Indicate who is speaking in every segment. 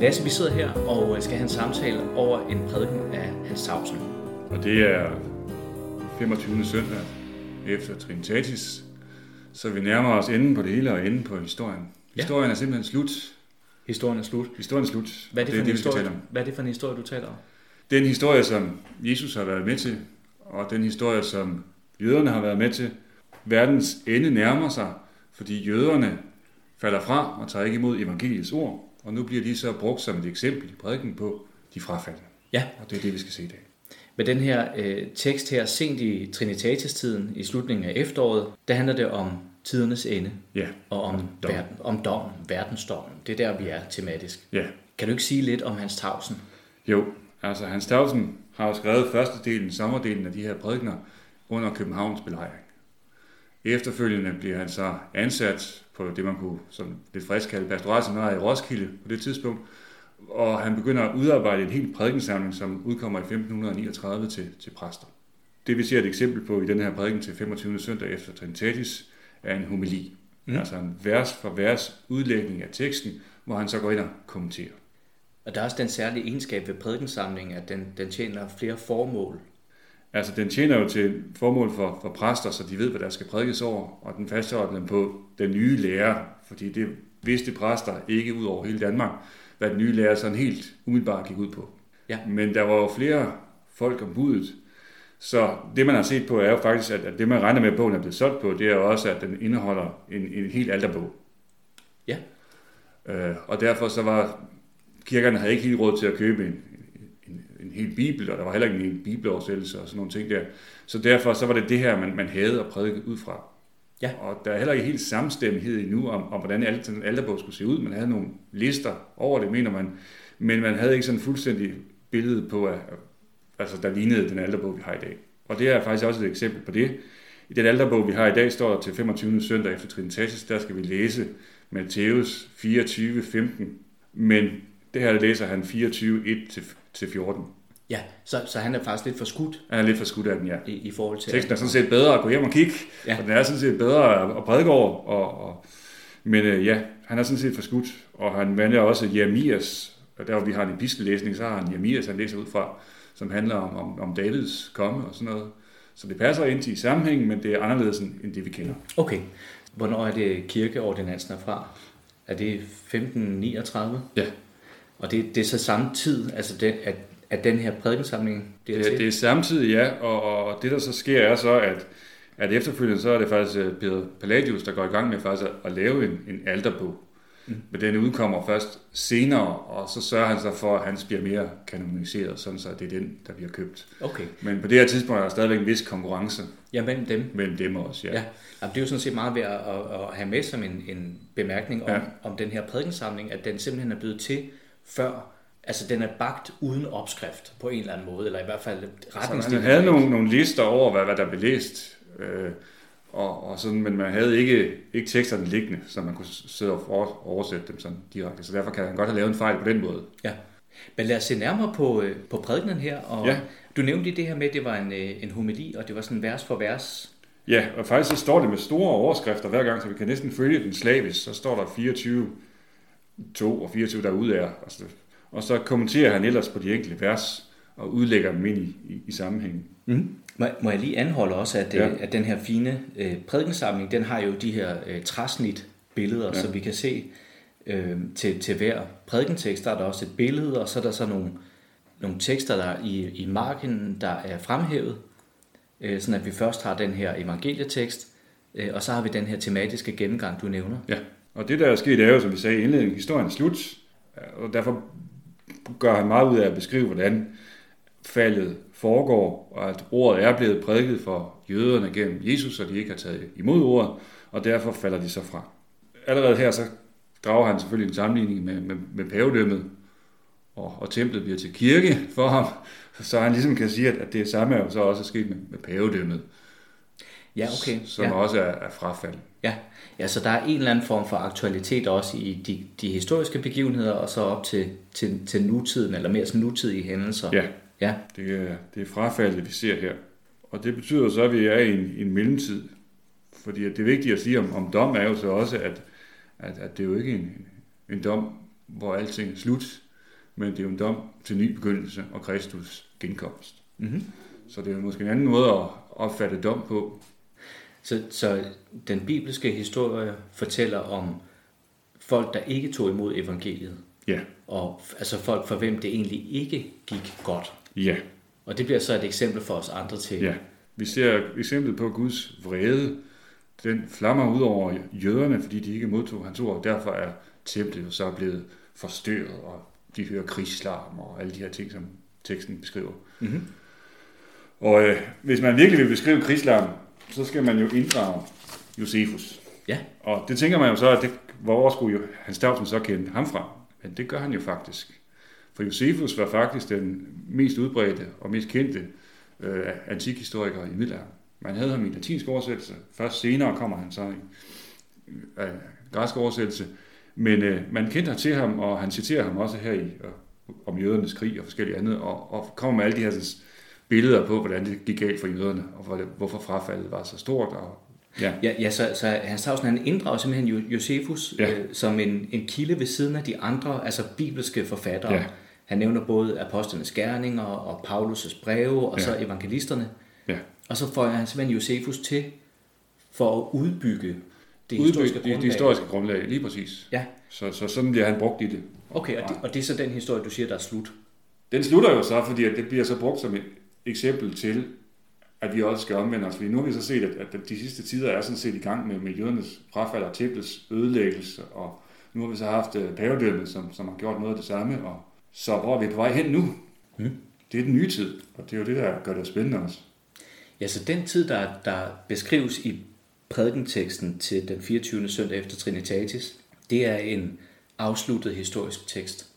Speaker 1: Lasse, vi sidder her og øh, skal have en samtale over en prædiken af Hans Tausen.
Speaker 2: Og det er 25. søndag efter Trinitatis, så vi nærmer os enden på det hele og enden på historien.
Speaker 1: Ja.
Speaker 2: Historien ja. er simpelthen slut.
Speaker 1: Historien er slut.
Speaker 2: Historien er slut.
Speaker 1: Hvad er det,
Speaker 2: det
Speaker 1: for
Speaker 2: er
Speaker 1: en
Speaker 2: det, vi skal
Speaker 1: historie,
Speaker 2: tale om.
Speaker 1: Hvad er det for en historie, du taler om?
Speaker 2: Det er en historie, som Jesus har været med til, og den historie, som jøderne har været med til. Verdens ende nærmer sig, fordi jøderne falder fra og tager ikke imod evangeliets ord, og nu bliver de så brugt som et eksempel i prædiken på de frafaldne.
Speaker 1: Ja.
Speaker 2: Og det er det, vi skal se i dag.
Speaker 1: Med den her øh, tekst her, sent i Trinitatis-tiden, i slutningen af efteråret, der handler det om tidernes ende
Speaker 2: Ja,
Speaker 1: og om,
Speaker 2: Dom.
Speaker 1: verden, om dommen, verdensdommen. Det er der, vi er tematisk.
Speaker 2: ja.
Speaker 1: Kan du ikke sige lidt om Hans Tausen?
Speaker 2: Jo, altså Hans Tausen har jo skrevet førstedelen, sommerdelen af de her prædikner under Københavns belejring. Efterfølgende bliver han så ansat på det, man kunne som lidt frisk kalde pastoralseminaret i Roskilde på det tidspunkt, og han begynder at udarbejde en helt prædikensamling, som udkommer i 1539 til, til præster. Det vi ser et eksempel på i den her prædiken til 25. søndag efter Trinitatis, er en homili. Mm. Altså en vers for vers udlægning af teksten, hvor han så går ind og kommenterer.
Speaker 1: Og der er også den særlige egenskab ved prædikensamlingen, at den, den tjener flere formål.
Speaker 2: Altså, den tjener jo til formål for, for præster, så de ved, hvad der skal prædikes over, og den fastholder dem på den nye lærer, fordi det vidste præster ikke ud over hele Danmark, hvad den nye lærer sådan helt umiddelbart gik ud på.
Speaker 1: Ja.
Speaker 2: Men der var jo flere folk om budet, så det, man har set på, er jo faktisk, at, at det, man regner med, at bogen er blevet solgt på, det er jo også, at den indeholder en, en helt alterbog.
Speaker 1: Ja.
Speaker 2: Øh, og derfor så var kirkerne havde ikke helt råd til at købe en, en, en hel bibel, og der var heller ikke en hel bibeloversættelse og sådan nogle ting der. Så derfor så var det det her, man, man havde at prædike ud fra.
Speaker 1: Ja.
Speaker 2: Og der er heller ikke helt samstemmighed endnu om, om hvordan alt sådan en alterbog skulle se ud. Man havde nogle lister over det, mener man, men man havde ikke sådan fuldstændig billede på, at, altså, der lignede den alterbog, vi har i dag. Og det er faktisk også et eksempel på det. I den alterbog, vi har i dag, står der til 25. søndag efter Trinitatis, der skal vi læse Matthæus 24, 15. Men det her læser han 24, 1-14.
Speaker 1: Ja, så, så han er faktisk lidt forskudt
Speaker 2: Han er lidt forskudt af den, ja.
Speaker 1: i, i forhold til...
Speaker 2: Teksten er sådan set bedre at gå hjem og kigge,
Speaker 1: Ja.
Speaker 2: ja. og den er sådan set bedre at- at prædike over. Og, og, men øh, ja, han er sådan set forskudt, og han vender også Jeremias, og der hvor vi har en episkellæsning, så har han Jeremias, han læser ud fra, som handler om, om, om Davids komme og sådan noget. Så det passer ind til sammenhængen, men det er anderledes end end det, vi kender.
Speaker 1: Okay. Hvornår er det kirkeordinansen er fra? Er det 1539?
Speaker 2: Ja,
Speaker 1: Og det, det er så samme tid, altså det, at, at den her prædikensamling bliver
Speaker 2: Øh, Det,
Speaker 1: til?
Speaker 2: det er samtidig, ja, og, og, og det der så sker er så, at, at efterfølgende så er det faktisk øh, Peter Palladius, der går i gang med faktisk at, at lave en, en alterbog. Mm. Men den udkommer først senere, og så sørger han sig for, at han bliver mere kanoniseret, sådan så det er den, der bliver købt.
Speaker 1: Okay.
Speaker 2: Men på det her tidspunkt er der stadigvæk en vis konkurrence
Speaker 1: Ja, mellem dem.
Speaker 2: mellem dem også, ja.
Speaker 1: Ja. Jamen, det er jo sådan set meget værd at, at, at have med som en, en bemærkning om, ja.
Speaker 2: Ja.
Speaker 1: om den her prædikensamling, at den simpelthen er blevet til før, altså den er bagt uden opskrift på en eller anden måde, eller i hvert fald
Speaker 2: Så Altså, man
Speaker 1: retningslinjer.
Speaker 2: havde nogle, nogle lister over, hvad, hvad der blev læst, øh, og, og sådan, men man havde ikke, ikke teksterne liggende, så man kunne s- sidde og for, oversætte dem sådan direkte. Så derfor kan han godt have lavet en fejl på den måde.
Speaker 1: Ja. Men lad os se nærmere på, øh, på prædikenen her. Og
Speaker 2: Ja.
Speaker 1: Du nævnte lige det her med, at det var en, øh, en homili, og det var sådan vers for vers.
Speaker 2: Ja, og faktisk så står det med store overskrifter hver gang, så vi kan næsten følge den slavisk. Så står der 24, 2 og 24 derude er. Og så, og så kommenterer han ellers på de enkelte vers og udlægger dem ind i, i, i sammenhængen.
Speaker 1: Mm. Må, må jeg lige anholde også, at, ja.
Speaker 2: Ja.
Speaker 1: at den her fine øh, prædikensamling, den har jo de her øh, træsnit billeder, ja. så vi kan se øh, til, til hver prædikentekst, der er der også et billede, og så er der så nogle, nogle tekster, der er i, i marken, der er fremhævet, øh, sådan at vi først har den her evangelietekst, øh, og så har vi den her tematiske gennemgang, du nævner.
Speaker 2: Ja, og det der er sket er jo, som vi sagde i indledningen, historien er slut, og derfor gør han meget ud af at beskrive, hvordan faldet foregår, og at ordet er blevet prædiket for jøderne gennem Jesus, og de ikke har taget imod ordet, og derfor falder de så fra. Allerede her så drager han selvfølgelig en sammenligning med, med, med pavedømmet, og, og templet bliver til kirke for ham, så han ligesom kan sige, at, at det samme er jo så også sket med, med pavedømmet,
Speaker 1: Ja, okay.
Speaker 2: som
Speaker 1: ja.
Speaker 2: også er, er frafald.
Speaker 1: Ja. ja, så der er en eller anden form for aktualitet også i de, de historiske begivenheder, og så op til, til, til nutiden, eller mere sådan nutidige hændelser.
Speaker 2: Ja.
Speaker 1: ja.
Speaker 2: Det er, det er frafaldet, vi ser her. Og det betyder så, at vi er i en, en mellemtid. Fordi at det vigtige at sige om, om dom er jo så også, at, at, at det er jo ikke en, en dom, hvor alting er slut. men det er jo en dom til ny begyndelse og Kristus genkomst.
Speaker 1: Mm-hmm.
Speaker 2: Så det er jo måske en anden måde at opfatte dom på.
Speaker 1: Så, så den bibelske historie fortæller om folk, der ikke tog imod evangeliet,
Speaker 2: Ja,
Speaker 1: og f- altså folk, for hvem det egentlig ikke gik godt.
Speaker 2: ja,
Speaker 1: Og det bliver så et eksempel for os andre til.
Speaker 2: ja. Vi ser eksemplet på Guds vrede. Den flammer ud over jøderne, fordi de ikke modtog hans ord. Derfor er templet jo så blevet forstyrret, og de hører krigslarm og alle de her ting, som teksten beskriver.
Speaker 1: Mm-hmm.
Speaker 2: Og øh, hvis man virkelig vil beskrive krigslarm, så skal man jo inddrage Josefus.
Speaker 1: Ja.
Speaker 2: Og det tænker man jo så, at det, hvor skulle jo Hans Stavsen så kende ham fra? Men det gør han jo faktisk. For Josefus var faktisk den mest udbredte og mest kendte øh, antikhistoriker i middelalderen. Man havde ham i latinsk oversættelse. Først senere kommer han så i øh, græsk oversættelse. Men øh, man kendte ham til ham, og han citerer ham også her i øh, om jødernes krig og forskellige andet, og, og kommer med alle de her sådan, billeder på, hvordan det gik galt for jøderne, og hvor- hvorfor frafaldet var så stort. Og, ja.
Speaker 1: Ja, ja så, så Hans Tausen, han inddrager simpelthen Jo- Josefus
Speaker 2: Ja.
Speaker 1: ja. øh, som en, en kilde ved siden af de andre, altså bibelske forfattere.
Speaker 2: Ja.
Speaker 1: Ja. Han nævner både apostlenes gerninger og Paulus' breve, og
Speaker 2: Ja.
Speaker 1: ja. så evangelisterne.
Speaker 2: Ja.
Speaker 1: Og så får han simpelthen Josefus til for at udbygge det historiske
Speaker 2: Udbygge det, det historiske grundlag, lige præcis.
Speaker 1: Ja,
Speaker 2: Så, så sådan bliver han brugt i det.
Speaker 1: okay, og det, og det er så den historie, du siger, der er slut.
Speaker 2: Den slutter jo så, fordi at det bliver så brugt som et eksempel til, at vi også skal omvende os. Fordi nu har vi så set, at, at de sidste tider er sådan set i gang med, med jødernes frafald og templets ødelæggelse, og nu har vi så haft øh, pavedømmet, som, som har gjort noget af det samme, og så hvor er vi på vej hen nu?
Speaker 1: Mm.
Speaker 2: Det er den nye tid, og det er jo det, der gør det spændende også.
Speaker 1: Ja, så den tid, der, der beskrives i prædikenteksten til den 24. søndag efter Trinitatis, det er en afsluttet historisk tekst.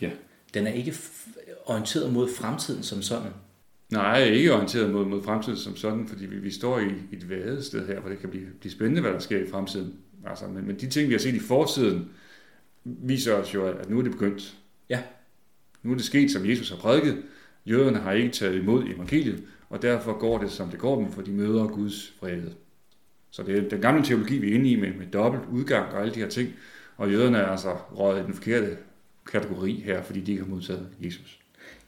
Speaker 2: Ja.
Speaker 1: Den er ikke f- orienteret mod fremtiden som sådan.
Speaker 2: Nej, jeg er ikke orienteret mod, mod fremtiden som sådan, fordi vi, vi står i et vadet sted her, hvor det kan blive, blive spændende, hvad der sker i fremtiden. Altså, men, men de ting, vi har set i fortiden, viser os jo, at, at nu er det begyndt.
Speaker 1: Ja.
Speaker 2: Nu er det sket, som Jesus har prædiket. Jøderne har ikke taget imod evangeliet, og derfor går det, som det går dem, for de møder Guds vrede. Så det er den gamle teologi, vi er inde i med, med dobbelt udgang og alle de her ting, og jøderne er altså røget i den forkerte kategori her, fordi de ikke har modtaget Jesus.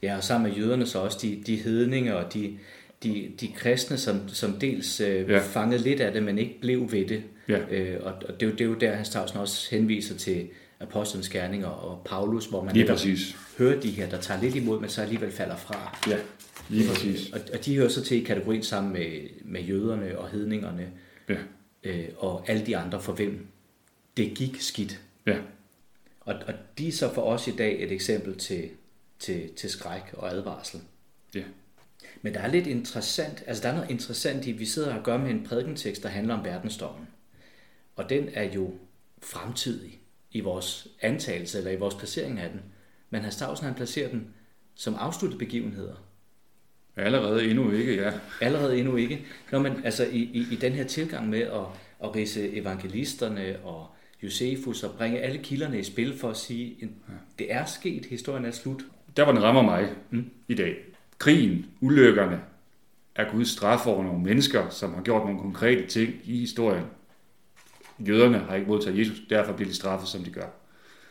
Speaker 1: Ja, og sammen med jøderne så også de, de hedninge og de, de, de kristne, som, som dels øh,
Speaker 2: Ja.
Speaker 1: ja. fangede lidt af det, men ikke blev ved det.
Speaker 2: Ja.
Speaker 1: Øh, og og det, er jo- det er jo der, Hans Tausen også henviser til apostlenes gerninger og Paulus, hvor man
Speaker 2: Lige
Speaker 1: netop
Speaker 2: præcis.
Speaker 1: hører de her, der tager lidt imod, men så alligevel falder fra.
Speaker 2: Ja, lige præcis.
Speaker 1: Og, og de hører så til i kategorien sammen med, med jøderne og hedningerne
Speaker 2: Ja,
Speaker 1: øh, og alle de andre, for hvem det gik skidt.
Speaker 2: ja,
Speaker 1: Og, og de er så for os i dag et eksempel til, til, til skræk og advarsel.
Speaker 2: ja.
Speaker 1: Men der er lidt interessant, altså der er noget interessant i, at vi sidder og gør med en prædikentekst, der handler om verdensdommen. Og den er jo fremtidig i vores antagelse eller i vores placering af den. Men Hans Tausen, han placerer den som afsluttede begivenheder.
Speaker 2: Allerede endnu ikke, ja.
Speaker 1: Allerede endnu ikke. Når man, altså i, i, i den her tilgang med at, at rise evangelisterne og Josefus og bringe alle kilderne i spil for at sige, at det er sket, historien er slut.
Speaker 2: Der hvor den rammer mig mm. i dag. Krigen, ulykkerne, er Guds straf over nogle mennesker, som har gjort nogle konkrete ting i historien. Jøderne har ikke modtaget Jesus, derfor bliver de straffet, som de gør.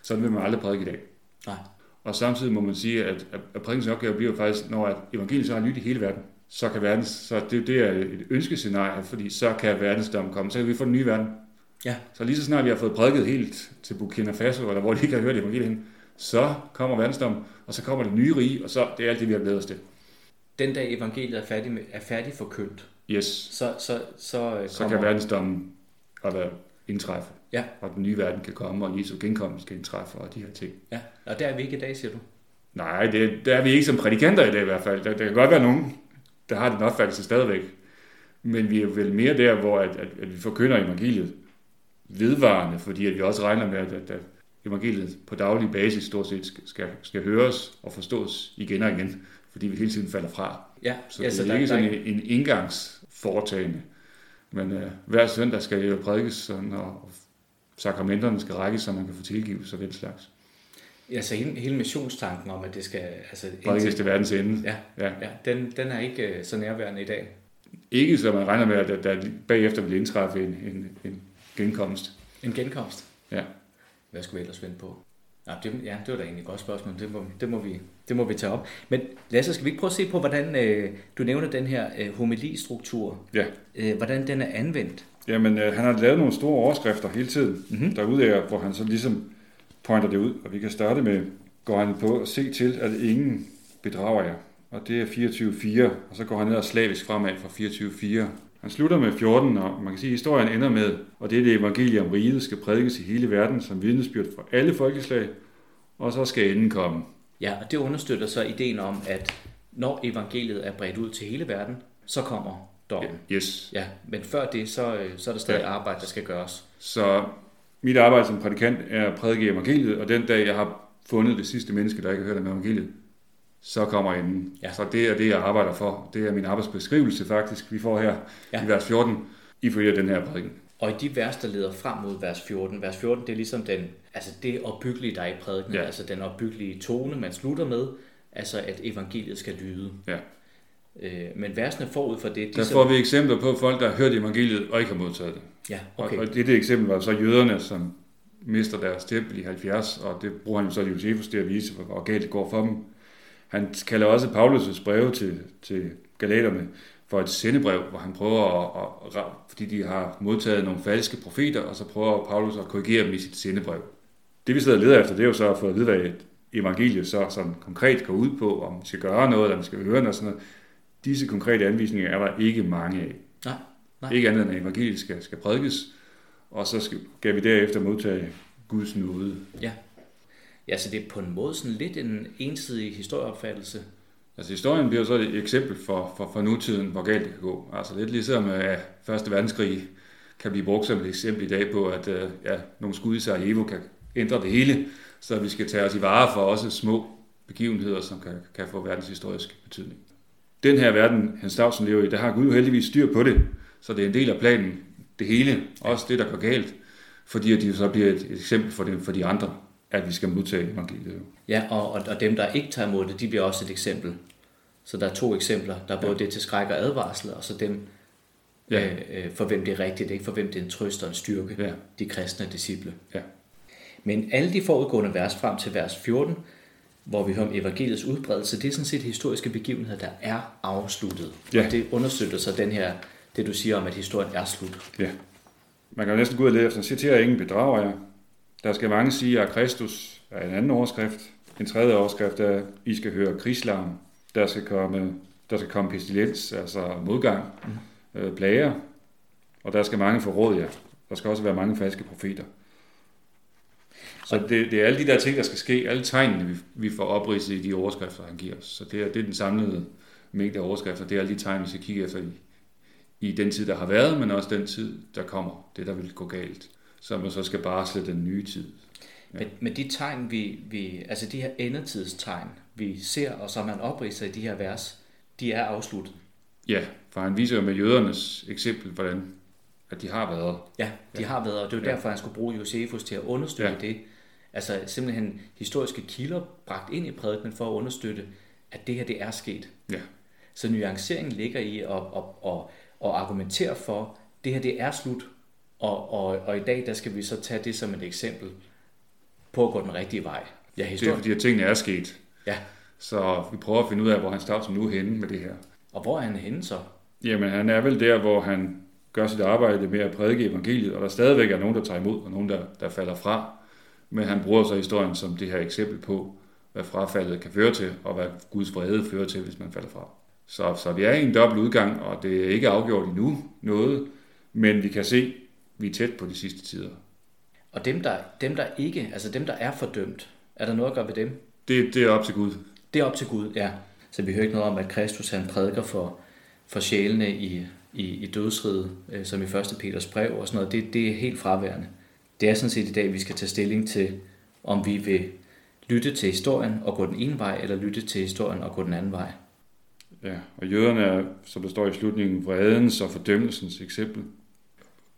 Speaker 2: Sådan vil man aldrig prædike i dag.
Speaker 1: Nej.
Speaker 2: Og samtidig må man sige, at, at- at prædikens opgave bliver faktisk, når at evangeliet så har lyttet i hele verden, så kan verden, så det, det er et ønskescenarie, fordi så kan verdensdommen komme, så kan vi få den nye verden.
Speaker 1: Ja.
Speaker 2: Så lige så snart vi har fået prædiket helt til Burkina Faso, eller hvor de ikke har hørt evangeliet hen, så kommer verdensdommen, og så kommer det nye rige, og så det er alt det, vi har glædet os til.
Speaker 1: Den dag evangeliet er færdig, med, er færdig forkyndt,
Speaker 2: Yes,
Speaker 1: så, så, så, øh,
Speaker 2: så kan verdensdommen og hvad indtræffe,
Speaker 1: Ja.
Speaker 2: og den nye verden kan komme, og Jesu genkomst kan indtræffe, og de her ting.
Speaker 1: Ja, og der er vi ikke i dag, siger du.
Speaker 2: Nej, det, der er vi ikke som prædikanter i dag i hvert fald. Der, der kan godt være nogen, der har den opfattelse stadigvæk. Men vi er vel mere der, hvor at, at, at vi forkynder evangeliet vedvarende, fordi at vi også regner med, at, at, at evangeliet på daglig basis stort set skal- skal, skal høres og forstås igen og igen, fordi vi hele tiden falder fra.
Speaker 1: Ja,
Speaker 2: Så
Speaker 1: ja,
Speaker 2: det er
Speaker 1: der-
Speaker 2: ikke
Speaker 1: der er
Speaker 2: sådan en, en indgangsforetagende. Men øh, hver søndag skal det jo prædikes, sådan, og sakramenterne skal rækkes, så man kan få tilgivelse og den slags.
Speaker 1: ja, så altså, hele, hele missionstanken om, at det skal... Altså,
Speaker 2: Prædikes til verdens ende.
Speaker 1: ja,
Speaker 2: Ja.
Speaker 1: ja den, den er ikke øh, så nærværende i dag.
Speaker 2: Ikke så man regner med, at der bagefter vil indtræffe en, en, en genkomst.
Speaker 1: En genkomst.
Speaker 2: Ja.
Speaker 1: Hvad skulle vi ellers vente på? Nå, det, ja, det var da egentlig et godt spørgsmål. Det må, det må, vi, det må vi tage op. Men Lasse, skal vi ikke prøve at se på, hvordan øh, du nævner den her øh, homilistruktur,
Speaker 2: Ja,
Speaker 1: øh, hvordan den er anvendt?
Speaker 2: Jamen, øh, han har lavet nogle store overskrifter hele tiden mm-hmm. derude af, hvor han så ligesom pointer det ud, og vi kan starte med, går han på at se til, at ingen bedrager jer, og det er 24-4, og så går han ned og slavisk fremad fra 24-4. Han slutter med 14, og man kan sige, at historien ender med, og det er det evangelium om riget skal prædikes i hele verden som vidnesbyrd for alle folkeslag, og så skal enden komme.
Speaker 1: Ja, og det understøtter så ideen om, at når evangeliet er bredt ud til hele verden, så kommer dommen.
Speaker 2: Yes,
Speaker 1: Ja, men før det, så, øh, så er der stadig
Speaker 2: Ja.
Speaker 1: arbejde, der skal gøres.
Speaker 2: Så mit arbejde som prædikant er at prædike evangeliet, og den dag, jeg har fundet det sidste menneske, der ikke har hørt om evangeliet, så kommer enden.
Speaker 1: Ja.
Speaker 2: Så det er det, jeg arbejder for. Det er min arbejdsbeskrivelse faktisk, vi får her
Speaker 1: Ja.
Speaker 2: ja. i vers 14, ifølge den her prædiken.
Speaker 1: Og i de vers, der leder frem mod vers 14, vers 14, det er ligesom den, altså det opbyggelige, der er i prædiken, ja.
Speaker 2: Ja.
Speaker 1: altså den opbyggelige tone, man slutter med, altså at evangeliet skal lyde.
Speaker 2: Ja.
Speaker 1: Øh, men versene forud for det, de
Speaker 2: Der
Speaker 1: så-
Speaker 2: får vi eksempler på folk, der har hørt evangeliet og ikke har modtaget det.
Speaker 1: Ja,
Speaker 2: Okay.
Speaker 1: okay.
Speaker 2: Og, og det, det eksempel var så jøderne, som mister deres tempel i 70, og det bruger han så Josefus til at vise, hvor- hvor galt det går for dem. Han kalder også Paulus' breve til, til galaterne for et sendebrev, hvor han prøver at, at, at, fordi de har modtaget nogle falske profeter, og så prøver Paulus at korrigere dem i sit sendebrev. Det vi sidder og leder efter, det er jo så at få at vide, hvad et evangelie så sådan konkret går ud på, om vi skal gøre noget, eller om vi skal høre noget, og sådan noget. Disse konkrete anvisninger er der ikke mange af.
Speaker 1: Nej, nej.
Speaker 2: Ikke andet end at evangeliet skal, skal prædikes, og så skal, skal vi derefter modtage Guds nåde.
Speaker 1: Ja. ja, så det er på en måde sådan lidt en ensidig historieopfattelse.
Speaker 2: Altså historien bliver så et eksempel for, for, for nutiden, hvor galt det kan gå. Altså lidt ligesom øh, Første Verdenskrig kan blive brugt som et eksempel i dag på, at øh, ja, nogle skud i Sarajevo kan ændre det hele, så vi skal tage os i vare for også små begivenheder, som kan, kan få verdenshistorisk betydning. Den her verden, Hans Stavsen lever i, der har Gud jo heldigvis styr på det, så det er en del af planen, det hele, også det, der går galt, fordi at det jo så bliver et, et eksempel for, dem, for de andre, at vi skal modtage evangeliet. jo.
Speaker 1: Ja, og, og, og dem, der ikke tager imod det, de bliver også et eksempel. Så der er to eksempler. Der er både ja. det til skræk og advarsel, og så dem,
Speaker 2: Ja.
Speaker 1: ja. øh, øh, for hvem det er rigtigt, ikke? for hvem det er en trøst og en styrke,
Speaker 2: Ja.
Speaker 1: de kristne disciple.
Speaker 2: Ja.
Speaker 1: Men alle de forudgående vers frem til vers 14, hvor vi hører om evangeliets udbredelse, det er sådan set historiske begivenheder, der er afsluttet.
Speaker 2: Ja.
Speaker 1: Og det understøtter så den her, det du siger om, at historien er slut.
Speaker 2: Ja. Man kan jo næsten gå ud og lede efter, citerer ingen bedrager jer. Der skal mange sige, at Kristus er en anden overskrift. En tredje overskrift er, I skal høre krigslarm. Der skal komme, der skal komme pestilens, altså modgang, øh, plager. Og der skal mange forråde jer. Der skal også være mange falske profeter. Så det, det er alle de der ting, der skal ske, alle tegnene, vi, vi får opridset i de overskrifter, han giver os. Så det er, det er den samlede mængde af overskrifter, det er alle de tegn, vi skal kigge efter i, i den tid, der har været, men også den tid, der kommer. Det, der vil gå galt. Så man så skal barsle den nye tid.
Speaker 1: Men, men de tegn, vi, vi, altså de her endetidstegn, vi ser, og som man opridser i de her vers, de er afsluttet.
Speaker 2: Ja, for han viser jo med jødernes eksempel, hvordan at de har været.
Speaker 1: Ja, de ja. har været, og det er jo ja. derfor, han skulle bruge Josefus til at understøtte ja.
Speaker 2: Ja.
Speaker 1: det. Altså simpelthen historiske kilder bragt ind i prædikenen for at understøtte, at det her det er sket.
Speaker 2: Ja,
Speaker 1: Så nuanceringen ligger i at, at, at, at argumentere for, at det her det er slut, og, og, og i dag der skal vi så tage det som et eksempel på at gå den rigtige vej. Ja,
Speaker 2: det er
Speaker 1: historien.
Speaker 2: fordi, at tingene er sket.
Speaker 1: Ja.
Speaker 2: Så vi prøver at finde ud af, hvor han starter nu er henne med det her.
Speaker 1: Og hvor er han henne så?
Speaker 2: Jamen, han er vel der, hvor han gør sit arbejde med at prædike evangeliet, og der stadigvæk er nogen, der tager imod, og nogen, der, der falder fra. Men han bruger så historien som det her eksempel på, hvad frafaldet kan føre til, og hvad Guds vrede fører til, hvis man falder fra. Så, så vi er i en dobbelt udgang, og det er ikke afgjort endnu noget, men vi kan se, at vi er tæt på de sidste tider.
Speaker 1: Og dem der, dem, der ikke, altså dem, der er fordømt, er der noget at gøre ved dem?
Speaker 2: Det, det er op til Gud.
Speaker 1: Det er op til Gud, ja. Så vi hører ikke noget om, at Kristus han prædiker for, for sjælene i, i, i dødsriget, øh, som i 1. Peters brev og sådan noget. Det, det er helt fraværende. Det er sådan set i dag, vi skal tage stilling til, om vi vil lytte til historien og gå den ene vej, eller lytte til historien og gå den anden vej.
Speaker 2: Ja, og jøderne er, som der står i slutningen, vredens og fordømmelsens eksempel.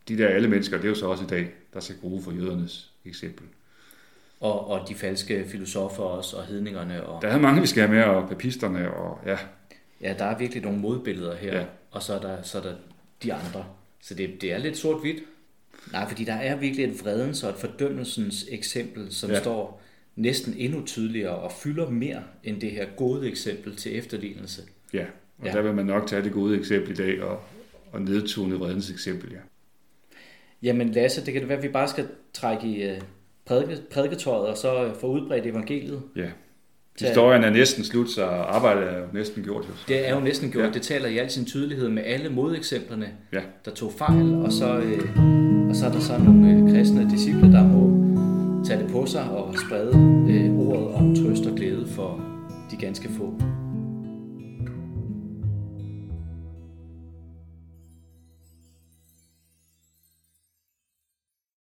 Speaker 2: De der alle mennesker, det er jo så også i dag, der skal bruge for jødernes eksempel.
Speaker 1: Og, og de falske filosofer også, og hedningerne. Og,
Speaker 2: Der er mange, vi skal have med, og papisterne, og ja,
Speaker 1: ja, der er virkelig nogle modbilleder her, ja.
Speaker 2: Ja.
Speaker 1: og så er, der, så er der de andre. Så det, det er lidt sort-hvidt. Nej, fordi der er virkelig et vredens og et fordømmelsens eksempel, som ja.
Speaker 2: Ja.
Speaker 1: står næsten endnu tydeligere og fylder mere end det her gode eksempel til efterlignelse.
Speaker 2: Ja, og
Speaker 1: Ja.
Speaker 2: ja. der vil man nok tage det gode eksempel i dag og, og nedtone vredens eksempel, ja.
Speaker 1: Jamen Lasse, det kan det være, at vi bare skal trække i øh, prædike, prædiketøjet og så øh, få udbredt evangeliet.
Speaker 2: ja.
Speaker 1: Tag-
Speaker 2: Historien er næsten slut, så arbejdet er jo næsten gjort. Jo.
Speaker 1: Det er jo næsten gjort. Ja.
Speaker 2: Ja.
Speaker 1: Det taler i al sin tydelighed med alle modeksemplerne,
Speaker 2: Ja.
Speaker 1: der tog fejl, og så, øh, og så er der så nogle øh, kristne disciple, der må tage det på sig og sprede øh, ordet om trøst og glæde for de ganske få.